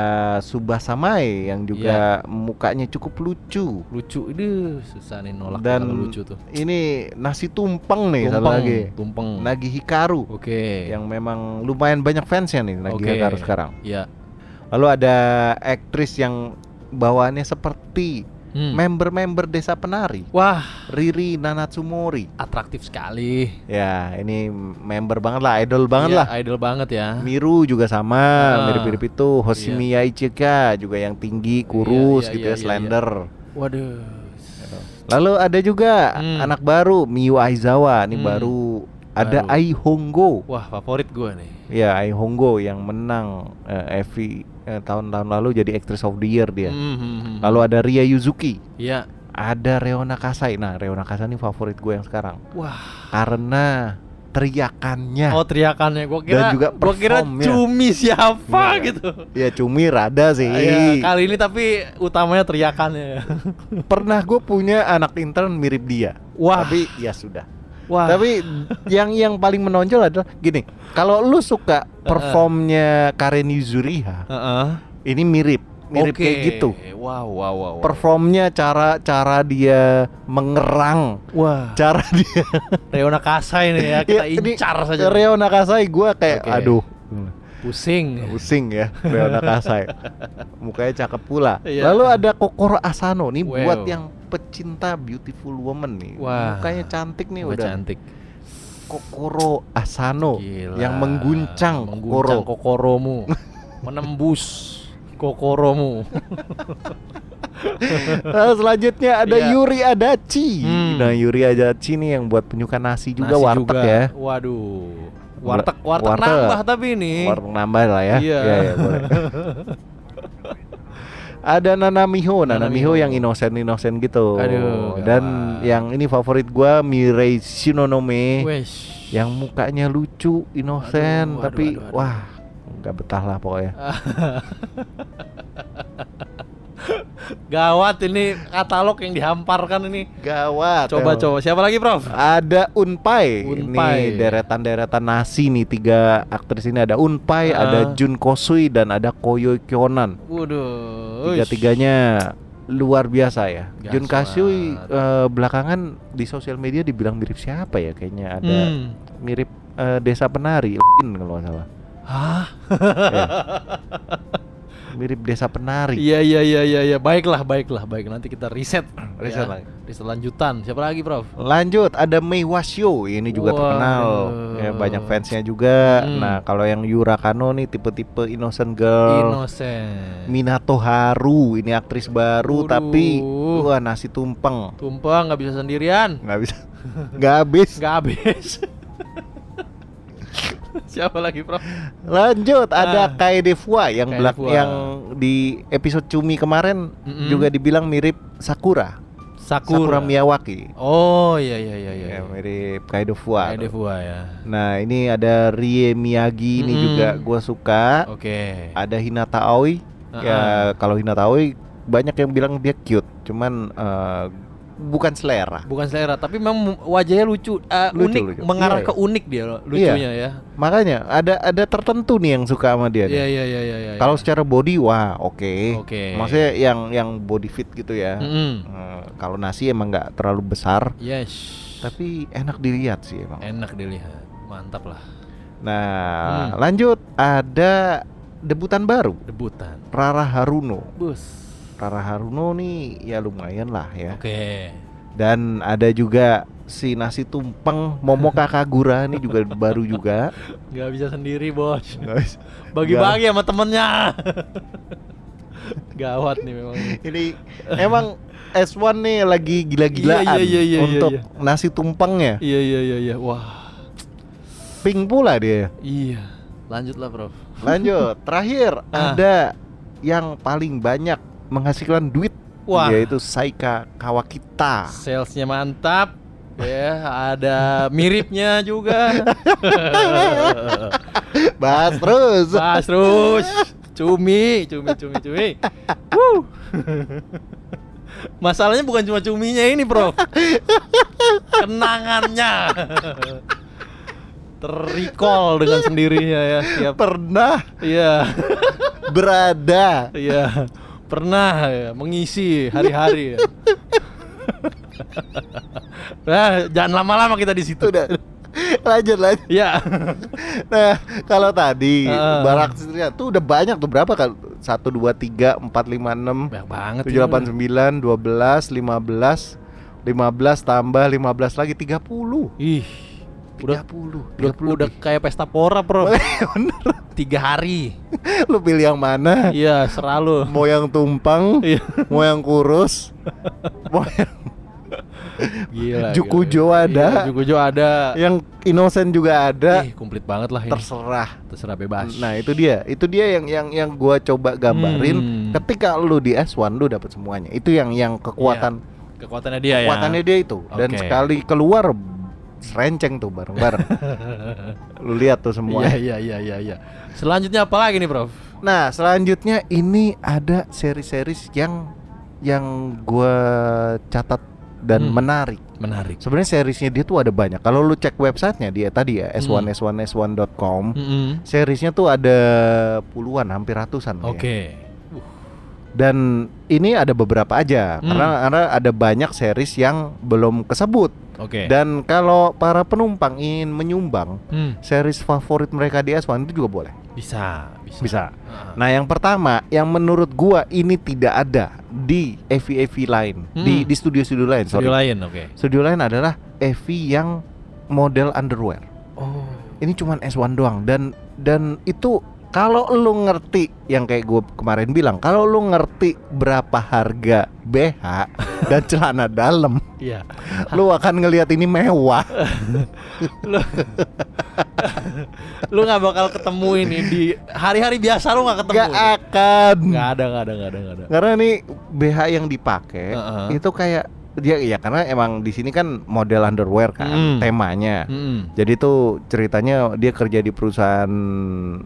Subasamai yang juga mukanya cukup lucu lucu ini susah nih nolak Dan- kalau lucu tuh. ini nasi tumpeng nih satu Tumpeng, lagi tumpeng. Nagi Hikaru Oke. yang memang lumayan banyak fansnya nih Nagi Oke. Hikaru sekarang Ya. lalu ada aktris yang bawaannya seperti Hmm. member-member desa penari Wah, Riri Nanatsumori atraktif sekali. ya ini member banget lah idol banget Iya, lah Idol banget ya. Miru juga sama, Ah, mirip-mirip itu. Hoshimiya Ichika juga yang tinggi, kurus iya, gitu ya, iya, iya, slender. Waduh. Lalu ada juga Hmm. anak baru Miyu Aizawa, ini Hmm. baru ada Baru. Ai Hongo. Wah, favorit gue nih. Ya, Ai Hongo yang menang eh, Evi eh, tahun-tahun lalu jadi Actress of the Year dia. Hmm, hmm, hmm. Iya. Lalu ada Ria Yuzuki, Iya. ada Reona Kasai. Nah, Reona Kasai ini favorit gue yang sekarang Wah. karena teriakannya. Oh, teriakannya gua kira Ya. juga gua kira performnya. cumi siapa Iya. gitu. Ya cumi rada sih. Iya, kali ini tapi utamanya teriakannya. Pernah gue punya anak intern mirip dia. Wah. Tapi ya sudah. Wah. Tapi yang yang paling menonjol adalah gini, kalau lu suka performnya Karen Yuzuriha, Heeh. ini mirip, mirip Oke. kayak gitu. Wow, wow, wow. wow. Performnya cara cara dia mengerang, Wah. cara dia Reona Kasai nih ya, kita Iya, incar saja. Reo Nakasai gua kayak Oke. aduh, Pusing. pusing ya Reo Nakasai. Mukanya cakep pula. Iya. Lalu ada Kokoro Asano nih Wow. buat yang pecinta beautiful woman nih. Wah. Mukanya cantik nih Wah, udah. cantik. Kokoro Asano Gila. yang mengguncang, mengguncang Kokoro. kokoromu. Menembus kokoromu. Nah, selanjutnya ada Iya. Yuri Adachi. Hmm. Nah, Yuri Adachi nih yang buat penyuka nasi juga Nasi warteg ya. Waduh. Warteg, warteg, Warteg. nambah tapi ini. Warteg nambah lah ya. Iya. boleh. ada Nanamiho, Nanamiho Nanamiho. yang inosen-inosen gitu. Aduh, Dan gawat. yang ini favorit gua Mirei Shinonome Wesh. yang mukanya lucu, inosen Aduh, aduh, tapi aduh, aduh. Ah, wah, nggak betah lah pokoknya. Gawat ini katalog yang dihamparkan ini. Gawat. Coba emang. coba siapa lagi, Prof? Ada Unpai. Ini Unpai. deretan-deretan nasi nih tiga aktris ini ada Unpai, Ah. ada Jun Kosui dan ada Koyo Kyonan. Waduh. Tiga-tiganya luar biasa ya. Gas Jun Kosui banget. eh, belakangan di sosial media dibilang mirip siapa ya kayaknya ada Hmm. mirip eh, Desa Penari Lin kalau nggak salah. Hah? Ya. mirip Desa Penari. Iya iya iya iya iya. Baiklah, baiklah, baik. Nanti kita riset. Riset ya. lagi. Riset lanjutan. Siapa lagi, Prof? Lanjut ada Mei Wasyo ini juga Waduh. terkenal ya, banyak fansnya juga. Hmm. Nah kalau yang Yura Kano nih tipe-tipe innocent girl. Innocent. Minato Haru ini aktris baru Waduh. tapi wah nasi tumpeng Tumpeng nggak bisa sendirian. nggak bisa nggak habis. Nggak habis. Siapa lagi, Prof? Lanjut ada Ah. Kaede Fua yang Kaede belak Fua. yang di episode cumi kemarin Mm-mm. juga dibilang mirip Sakura Sakura, Sakura. Miyawaki Oh, iya iya iya iya. ya, mirip Kaede Fua. Kaede Fua ya. Nah ini ada Rie Miyagi ini Mm-mm. juga gua suka. Oke. Ah, ada Hinata Aoi. Ya kalau Hinata Aoi banyak yang bilang dia cute, cuman eh, bukan selera. Bukan selera, tapi memang wajahnya lucu, eh, Lucu, unik, lucu. mengarah Iya, ke unik dia loh, lucunya ya. Makanya ada ada tertentu nih yang suka sama dia. nih. Iya iya iya iya. iya. Kalau secara body wah oke. Oke. Maksudnya yang yang body fit gitu ya. Mm-mm. Eh, kalau nasi emang nggak terlalu besar, Yes. tapi enak dilihat sih emang. enak dilihat, mantap lah. Nah Hmm. lanjut ada debutan baru Debutan. Rara Haruno. Bus. Rara Haruno nih ya lumayan lah ya. Oke. Dan ada juga si nasi tumpeng Momo Kakagura ini juga baru juga. nggak bisa sendiri bos Guys, bagi-bagi sama temennya gawat nih memang ini emang S1 nih lagi gila-gilaan Iya, iya, iya, iya, untuk iya. nasi tumpengnya. iya iya iya iya wah Pink pula dia. iya lanjutlah prof Lanjut, terakhir Ah. ada yang paling banyak menghasilkan duit Wah. yaitu Saika Kawakita. salesnya mantap ya ada miripnya juga Bahas terus. Bahas terus. Cumi, cumi, cumi, cumi. Wuh. Masalahnya bukan cuma cuminya ini, Bro. Kenangannya. Terrecall dengan sendirinya ya setiap Pernah Iya. berada Iya. Pernah ya, mengisi hari-hari ya. Nah, jangan lama-lama kita di situ. udah lanjut lanjut Ya. nah kalau tadi Heeh. barak setirnya tuh udah banyak tuh berapa kan satu dua tiga empat lima enam Banyak banget. tujuh delapan sembilan dua belas lima belas lima belas tambah lima belas lagi tiga puluh Ih. Udah tiga puluh Udah, udah kayak pesta pora, Bro. Tiga hari. lu pilih yang mana Iya, seralu. mau yang tumpang Iya. mau yang kurus mau yang, Gila. Jukujo gila. ada. Iya, Jukujo ada. yang innocent juga ada Ih, komplit banget lah ini. terserah Terserah bebas. Nah itu dia, itu dia yang yang yang gua coba gambarin. Hmm. Ketika lu di S1 lu dapat semuanya. Itu yang yang kekuatan kekuatannya dia ya. kekuatannya dia itu. Dan Iya. Oke. sekali keluar serenceng tuh bareng-bareng. lu lihat tuh Iya, semua. iya, iya, iya, iya. Selanjutnya apa lagi nih, Prof? Nah selanjutnya ini ada seri-seri yang yang gua catat dan Hmm. menarik. Menarik. Sebenarnya serisnya dia tuh ada banyak. Kalau lu cek websitenya dia tadi ya Hmm. s1s1s1.com. Mm-mm. Serisnya tuh ada puluhan, hampir ratusan. ya. Oke. dan ini ada beberapa aja Hmm. karena, karena ada banyak series yang belum kesebut Oke. dan kalau para penumpang ingin menyumbang Hmm, series favorit mereka di S1 itu juga boleh bisa, bisa. Heeh. nah yang pertama yang menurut gua ini tidak ada di EV-EV lain Hmm. di di studio-studio lain sorry Studio lain, oke. studio lain adalah EV yang model underwear Oh. ini cuman S1 doang dan dan itu kalau lu ngerti yang kayak gue kemarin bilang kalau lu ngerti berapa harga BH dan celana dalam Iya. lu akan ngelihat ini mewah Lu nggak bakal ketemu ini di hari-hari biasa lu nggak ketemu. gak akan Iya. Nggak ada, nggak ada, nggak ada, nggak ada. karena nih BH yang dipakai Heeh. itu kayak dia ya karena emang di sini kan model underwear kan Hmm. temanya Mm-mm. jadi tuh ceritanya dia kerja di perusahaan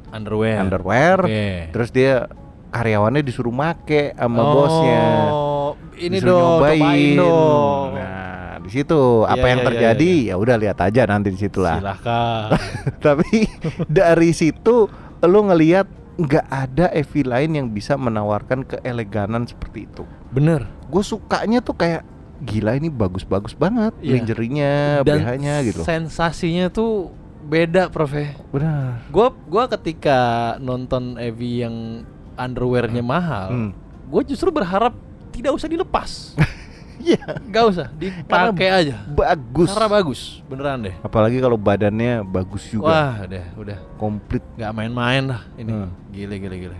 Underwear. underwear Oke. terus dia karyawannya disuruh make sama bosnya Oh, ini Disuruh dong, cobain dong. Nah, di situ apa Iya, yang iya, iya, terjadi ya udah lihat aja nanti di situlah. Silahkan. Tapi dari situ lu ngelihat nggak ada EV lain yang bisa menawarkan keeleganan seperti itu. Bener. Gue sukanya tuh kayak gila ini bagus-bagus banget Iya. lingerie-nya, Dan BH-nya gitu. Sensasinya tuh beda, Prof. ya. Benar. Gua gua ketika nonton Evi yang underwearnya mahal, Hmm. gue justru berharap tidak usah dilepas. Iya, Gak usah, dipakai aja. bagus. Cara bagus, beneran deh. Apalagi kalau badannya bagus juga, Wah, udah, udah. komplit. Gak main-main lah ini. Hmm. Gile, gile, gile.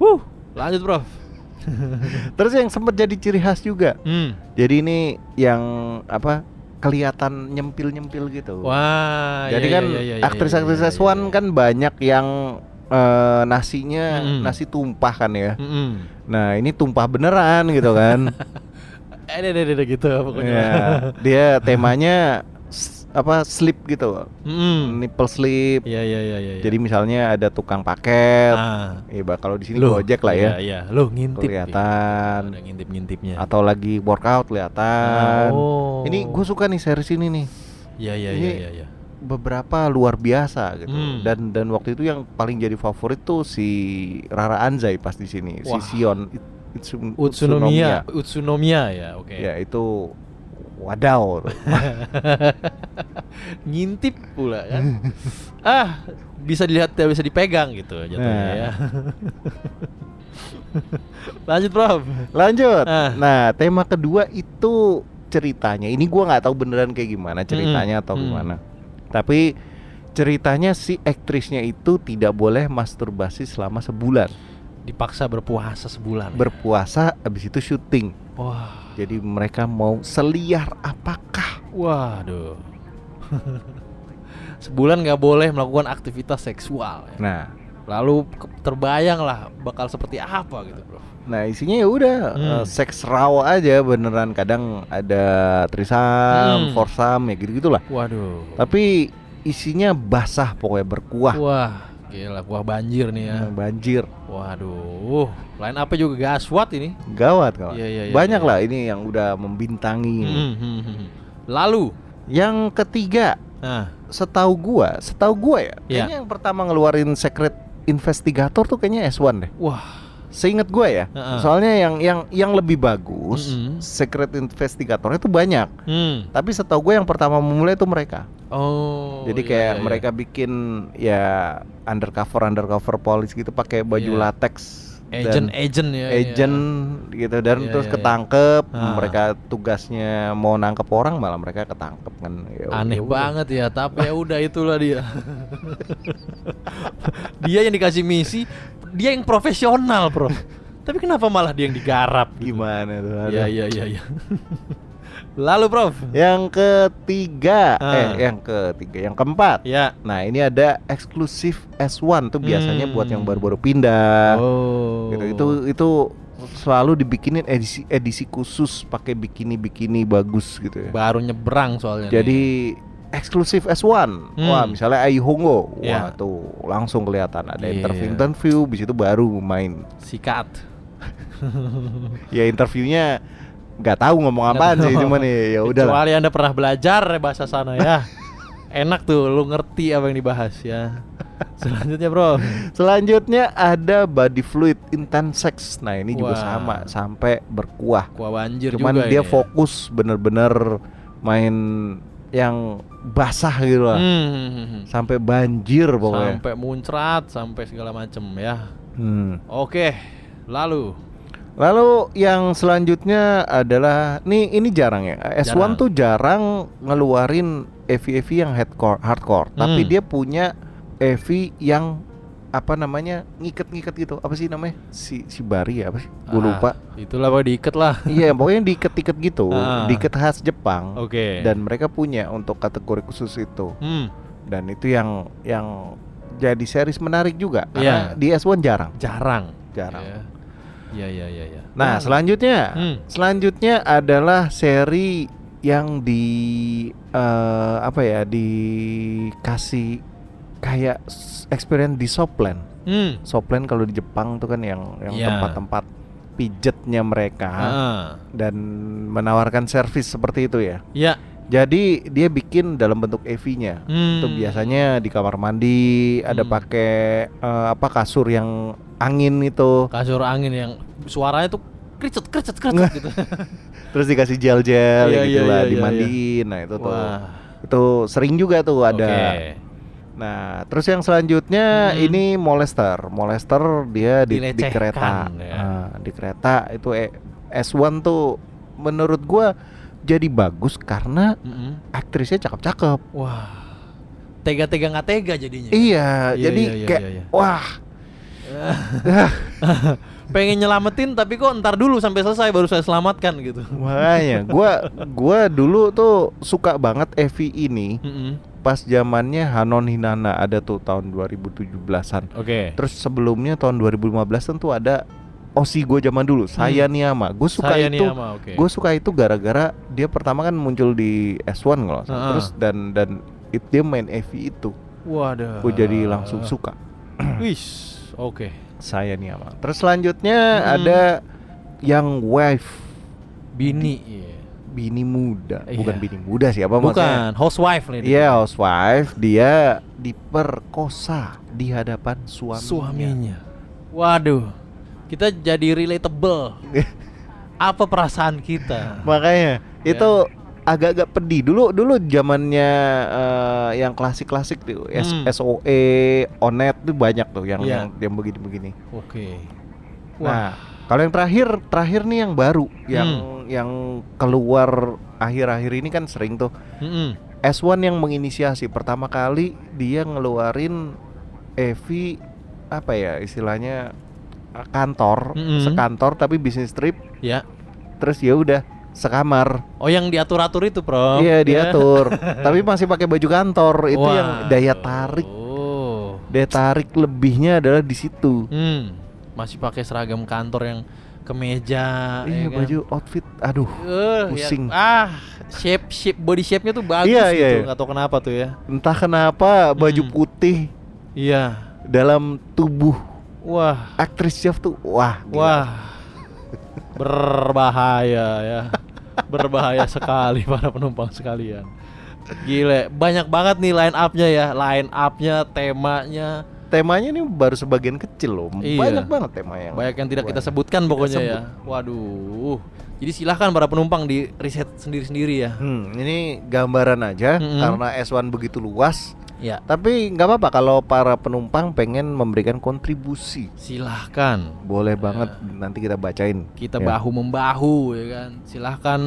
Wuh, lanjut, Prof. Terus yang sempat jadi ciri khas juga Hmm. Jadi ini yang apa kelihatan nyempil-nyempil gitu. Wah, Jadi iya, kan iya, iya, iya, aktris-aktris iya, iya, S1 iya. kan banyak yang eh, nasinya Mm-mm. nasi tumpah kan ya. Mm-mm. Nah, ini tumpah beneran gitu kan. Eh, deh, deh, deh, deh, gitu pokoknya. ya, dia temanya s- apa slip gitu. Mm-mm. Nipple slip. Hmm. Iya, iya, iya, iya. Jadi misalnya ada tukang paket. ah, Eh, bah, kalau di sini Gojek lah ya. Iya, iya. Lu ngintip. Kelihatan. Ada ngintip-ngintipnya. Atau lagi workout kelihatan. Ya. Oh. Ini gue suka nih series ini nih. Iya, iya, ini iya, iya, iya. beberapa luar biasa gitu Hmm. dan dan waktu itu yang paling jadi favorit tuh si Rara Anzai pas di sini si Wah. Sion It- Itsu- Utsunomiya, Utsunomiya ya, oke. Utsunomiya. ya itu wadaw tuh. Ngintip pula kan. ah, bisa dilihat tidak bisa dipegang gitu jatuhnya Nah. ya. Lanjut, Prof. lanjut Ah. nah tema kedua itu ceritanya ini gua nggak tahu beneran kayak gimana ceritanya Mm-mm. atau Mm. gimana tapi ceritanya si aktrisnya itu tidak boleh masturbasi selama sebulan Dipaksa berpuasa sebulan. ya? berpuasa habis itu syuting Wah, jadi mereka mau seliar apakah waduh. sebulan nggak boleh melakukan aktivitas seksual. ya. nah Lalu ke- terbayang lah bakal seperti apa gitu, Prof. Nah isinya ya udah eh, Hmm. seks raw aja beneran kadang ada trisam, Hmm. forsam ya gitu gitulah. Waduh. Tapi isinya basah pokoknya berkuah. Nah, Wah, Gila, wah banjir nih ya. banjir Waduh, line up juga gaswat ini. gawat kawan Iya, iya, iya, banyak iya. lah ini yang udah membintangi Hmm, hmm, hmm. Lalu, yang ketiga nah, setahu gua setahu gua ya Iya. kayaknya yang pertama ngeluarin secret investigator tuh kayaknya S1 deh wah, seinget gua ya Heeh. soalnya yang yang yang lebih bagus Mm-mm. secret investigatornya tuh banyak hmm, tapi setahu gue yang pertama memulai itu mereka oh, jadi iya, kayak iya, iya. mereka bikin ya undercover undercover police gitu pakai baju Iya. latex dan agent, agent ya, iya. agent gitu dan Iya, terus iya, iya. ketangkep Ah. mereka tugasnya mau nangkep orang malah mereka ketangkep kan Ya Aneh udah. banget ya, tapi ya udah itulah dia. dia yang dikasih misi, dia yang profesional, bro. Tapi kenapa malah dia yang digarap? gimana tuh aduh. Iya, iya, iya, iya. Lalu, Prof. yang ketiga eh Ah. yang ketiga yang keempat Ya. nah ini ada eksklusif S1 tuh biasanya buat yang Hmm. baru-baru pindah Oh. gitu itu itu selalu dibikinin edisi edisi khusus pakai bikini bikini bagus gitu ya baru nyebrang soalnya. jadi eksklusif S1 Hmm. wah misalnya Ayu Hongo wah Ya. tuh langsung kelihatan ada Iya. interview interview bis itu baru main nih. sikat. ya interviewnya nggak tahu ngomong apaan sih cuman ya ya udah Kecuali Anda pernah belajar bahasa sana ya. Enak tuh lu ngerti apa yang dibahas ya. Selanjutnya, Bro. selanjutnya ada body fluid intense sex nah ini juga Wah. sama sampai berkuah Kuah banjir cuman juga ya. dia ini. fokus bener-bener main yang basah gitu lah Hmm. sampai banjir pokoknya. Sampai muncrat, sampai segala macem ya. Hmm. Oke, lalu Lalu yang selanjutnya adalah nih ini jarang ya. S1 Jarang. tuh jarang ngeluarin EV-EV yang hardcore, hardcore. Tapi Hmm. dia punya EV yang apa namanya ngiket-ngiket gitu. Apa sih namanya? Si si Bari ya apa sih? Gue Ah, lupa. Itulah Pak diikat lah. Iya, pokoknya diiket-iket gitu. Ah. Diiket khas Jepang. Oke. Dan mereka punya untuk kategori khusus itu. Hmm, Dan itu yang yang jadi series menarik juga karena Iya. di S1 jarang, jarang. jarang. Ya ya ya ya. Nah, Hmm. selanjutnya, Hmm. selanjutnya adalah seri yang di eh, apa ya dikasih kayak s- experience di Soplan. Hmm. Soplan kalau di Jepang tuh kan yang yang Iya. tempat-tempat pijetnya mereka Ah. dan menawarkan servis seperti itu ya. Ya. Jadi dia bikin dalam bentuk EV-nya. Hmm. Itu biasanya di kamar mandi ada Hmm. pakai eh, apa kasur yang angin itu, kasur angin yang suaranya tuh kricet kricet kricet gitu. terus dikasih gel-gel ya Iya, gitu iya, lah, iya, iya, dimandiin. Nah, itu tuh. Wah. Itu sering juga tuh ada. Oke. Nah, terus yang selanjutnya Hmm. ini molester. Molester dia di, di Dilecehkan, kereta. ya. Ah, di kereta itu eh, S1 tuh menurut gua jadi bagus karena Mm-mm. aktrisnya cakep-cakep. Wah. Tega-tega nggak tega jadinya. Iya, Iya, jadi iya, iya, kayak iya, iya. wah, Pengen nyelamatin tapi kok ntar dulu sampai selesai baru saya selamatkan gitu. makanya gua gua dulu tuh suka banget Evi ini Mm-mm. pas zamannya Hanon Hinana ada tuh tahun 2017-an. Oke. Terus sebelumnya tahun 2015 tentu ada Osi gue zaman dulu, Saya Niyama. Gue suka Hmm. Saya itu. Niyama, oke. Gue suka itu gara-gara dia pertama kan muncul di S1 kalau nggak salah. Heeh. Terus dan dan it- dia main EV itu. Waduh. Gue jadi Ah. langsung suka Wis. Oke. Saya Niyama. Terus selanjutnya Hmm. ada yang wife Bini. iya. bini muda, Iya. bukan bini muda sih apa maksudnya? Bukan housewife nih. dia. Iya, housewife dia diperkosa di hadapan suaminya. Suaminya. Waduh. Kita jadi relatable. Apa perasaan kita? Makanya itu agak-agak pedih dulu dulu zamannya eh, yang klasik-klasik tuh S- Hmm. SOE, Onet tuh banyak tuh yang Iya. yang, yang begini-begini. Oke. Nah, kalau yang terakhir terakhir nih yang baru yang Hmm. yang keluar akhir-akhir ini kan sering tuh Mm-mm. S1 yang menginisiasi pertama kali dia ngeluarin Evi apa ya istilahnya eh, kantor Mm-mm. sekantor tapi bisnis trip Ya. terus ya udah sekamar Oh yang diatur-atur itu, Prof. Iya Ya. diatur, tapi masih pakai baju kantor. Itu yang Waduh. daya tarik, Oh. daya tarik lebihnya adalah di situ. Hmm. Masih pakai seragam kantor yang kemeja Iya ya kan? baju outfit, aduh. Eh, pusing. ya- ah, shape shape body shape-nya tuh bagus Iya, gitu, iya, iya. nggak tahu kenapa tuh ya. Entah kenapa baju Mm. putih Iya. dalam tubuh Wah, aktris chef tuh wah gila. wah. Berbahaya ya. Berbahaya sekali para penumpang sekalian. Gile, banyak banget nih line up-nya ya, line up-nya, temanya. temanya nih baru sebagian kecil loh Iya. banyak banget tema yang Banyak yang tidak kita banyak. sebutkan pokoknya sebut. ya. Waduh. Jadi silahkan para penumpang di riset sendiri-sendiri ya. Hmm, ini gambaran aja Mm-mm. karena S1 begitu luas Ya, tapi nggak apa-apa kalau para penumpang pengen memberikan kontribusi silahkan. boleh banget nanti kita bacain Iya. Kita Ya. bahu membahu ya kan. Silahkan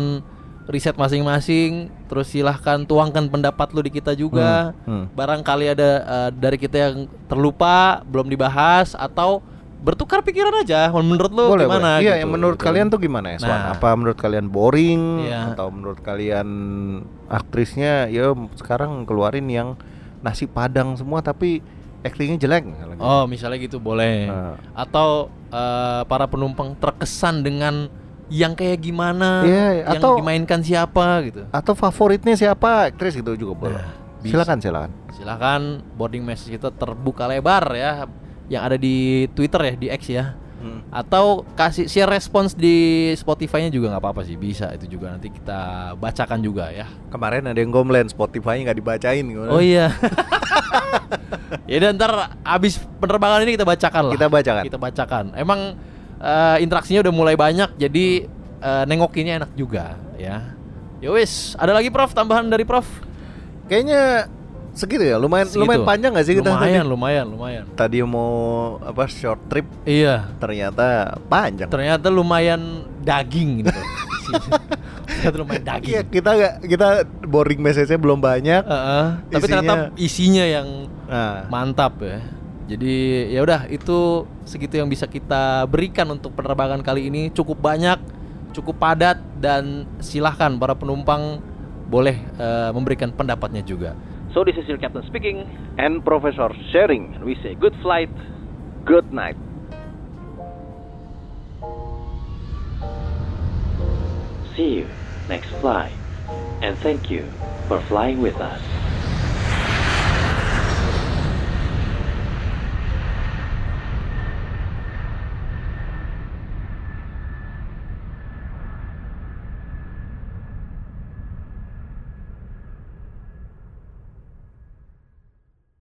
riset masing-masing, terus silahkan tuangkan pendapat lu di kita juga. Hmm, hmm. Barangkali ada eh, dari kita yang terlupa, belum dibahas atau bertukar pikiran aja. Menurut lu boleh, gimana? boleh. Iya, gitu. yang menurut kalian tuh gimana ya, Swan? Nah. Apa menurut kalian boring Iya. atau menurut kalian aktrisnya ya sekarang keluarin yang nasi padang semua tapi aktingnya jelek misalnya gitu. Oh, misalnya gitu boleh. Nah. Atau eh, para penumpang terkesan dengan yang kayak gimana, Iya, yang atau- dimainkan siapa gitu. Atau favoritnya siapa aktris gitu juga boleh. bisa. silakan silakan. Silahkan boarding message kita terbuka lebar ya, yang ada di Twitter ya, di X ya. Hmm, Atau kasih share respons di Spotify-nya juga nggak apa-apa sih, bisa itu juga nanti kita bacakan juga ya. Kemarin ada yang komplain Spotify nggak dibacain gimana? Oh iya. ya dan ntar abis penerbangan ini kita bacakan lah. Kita bacakan. Kita bacakan. Emang eh, interaksinya udah mulai banyak, jadi eh, nengokinnya enak juga ya. Ya wis, ada lagi Prof tambahan dari Prof. Kayaknya segitu ya. Lumayan Segitu. lumayan panjang nggak sih kita Lumayan, lumayan, lumayan. tadi? Tadi mau apa short trip Iya, ternyata panjang. ternyata lumayan daging gitu. ternyata lumayan daging. Iya, kita nggak kita boring message-nya belum banyak. Heeh, tapi Isinya- ternyata isinya yang Nah, mantap ya. Jadi ya udah itu segitu yang bisa kita berikan untuk penerbangan kali ini cukup banyak, cukup padat dan silahkan para penumpang boleh eh, memberikan pendapatnya juga. So this is your captain speaking and Professor sharing. We say good flight, good night. See you next flight and thank you for flying with us.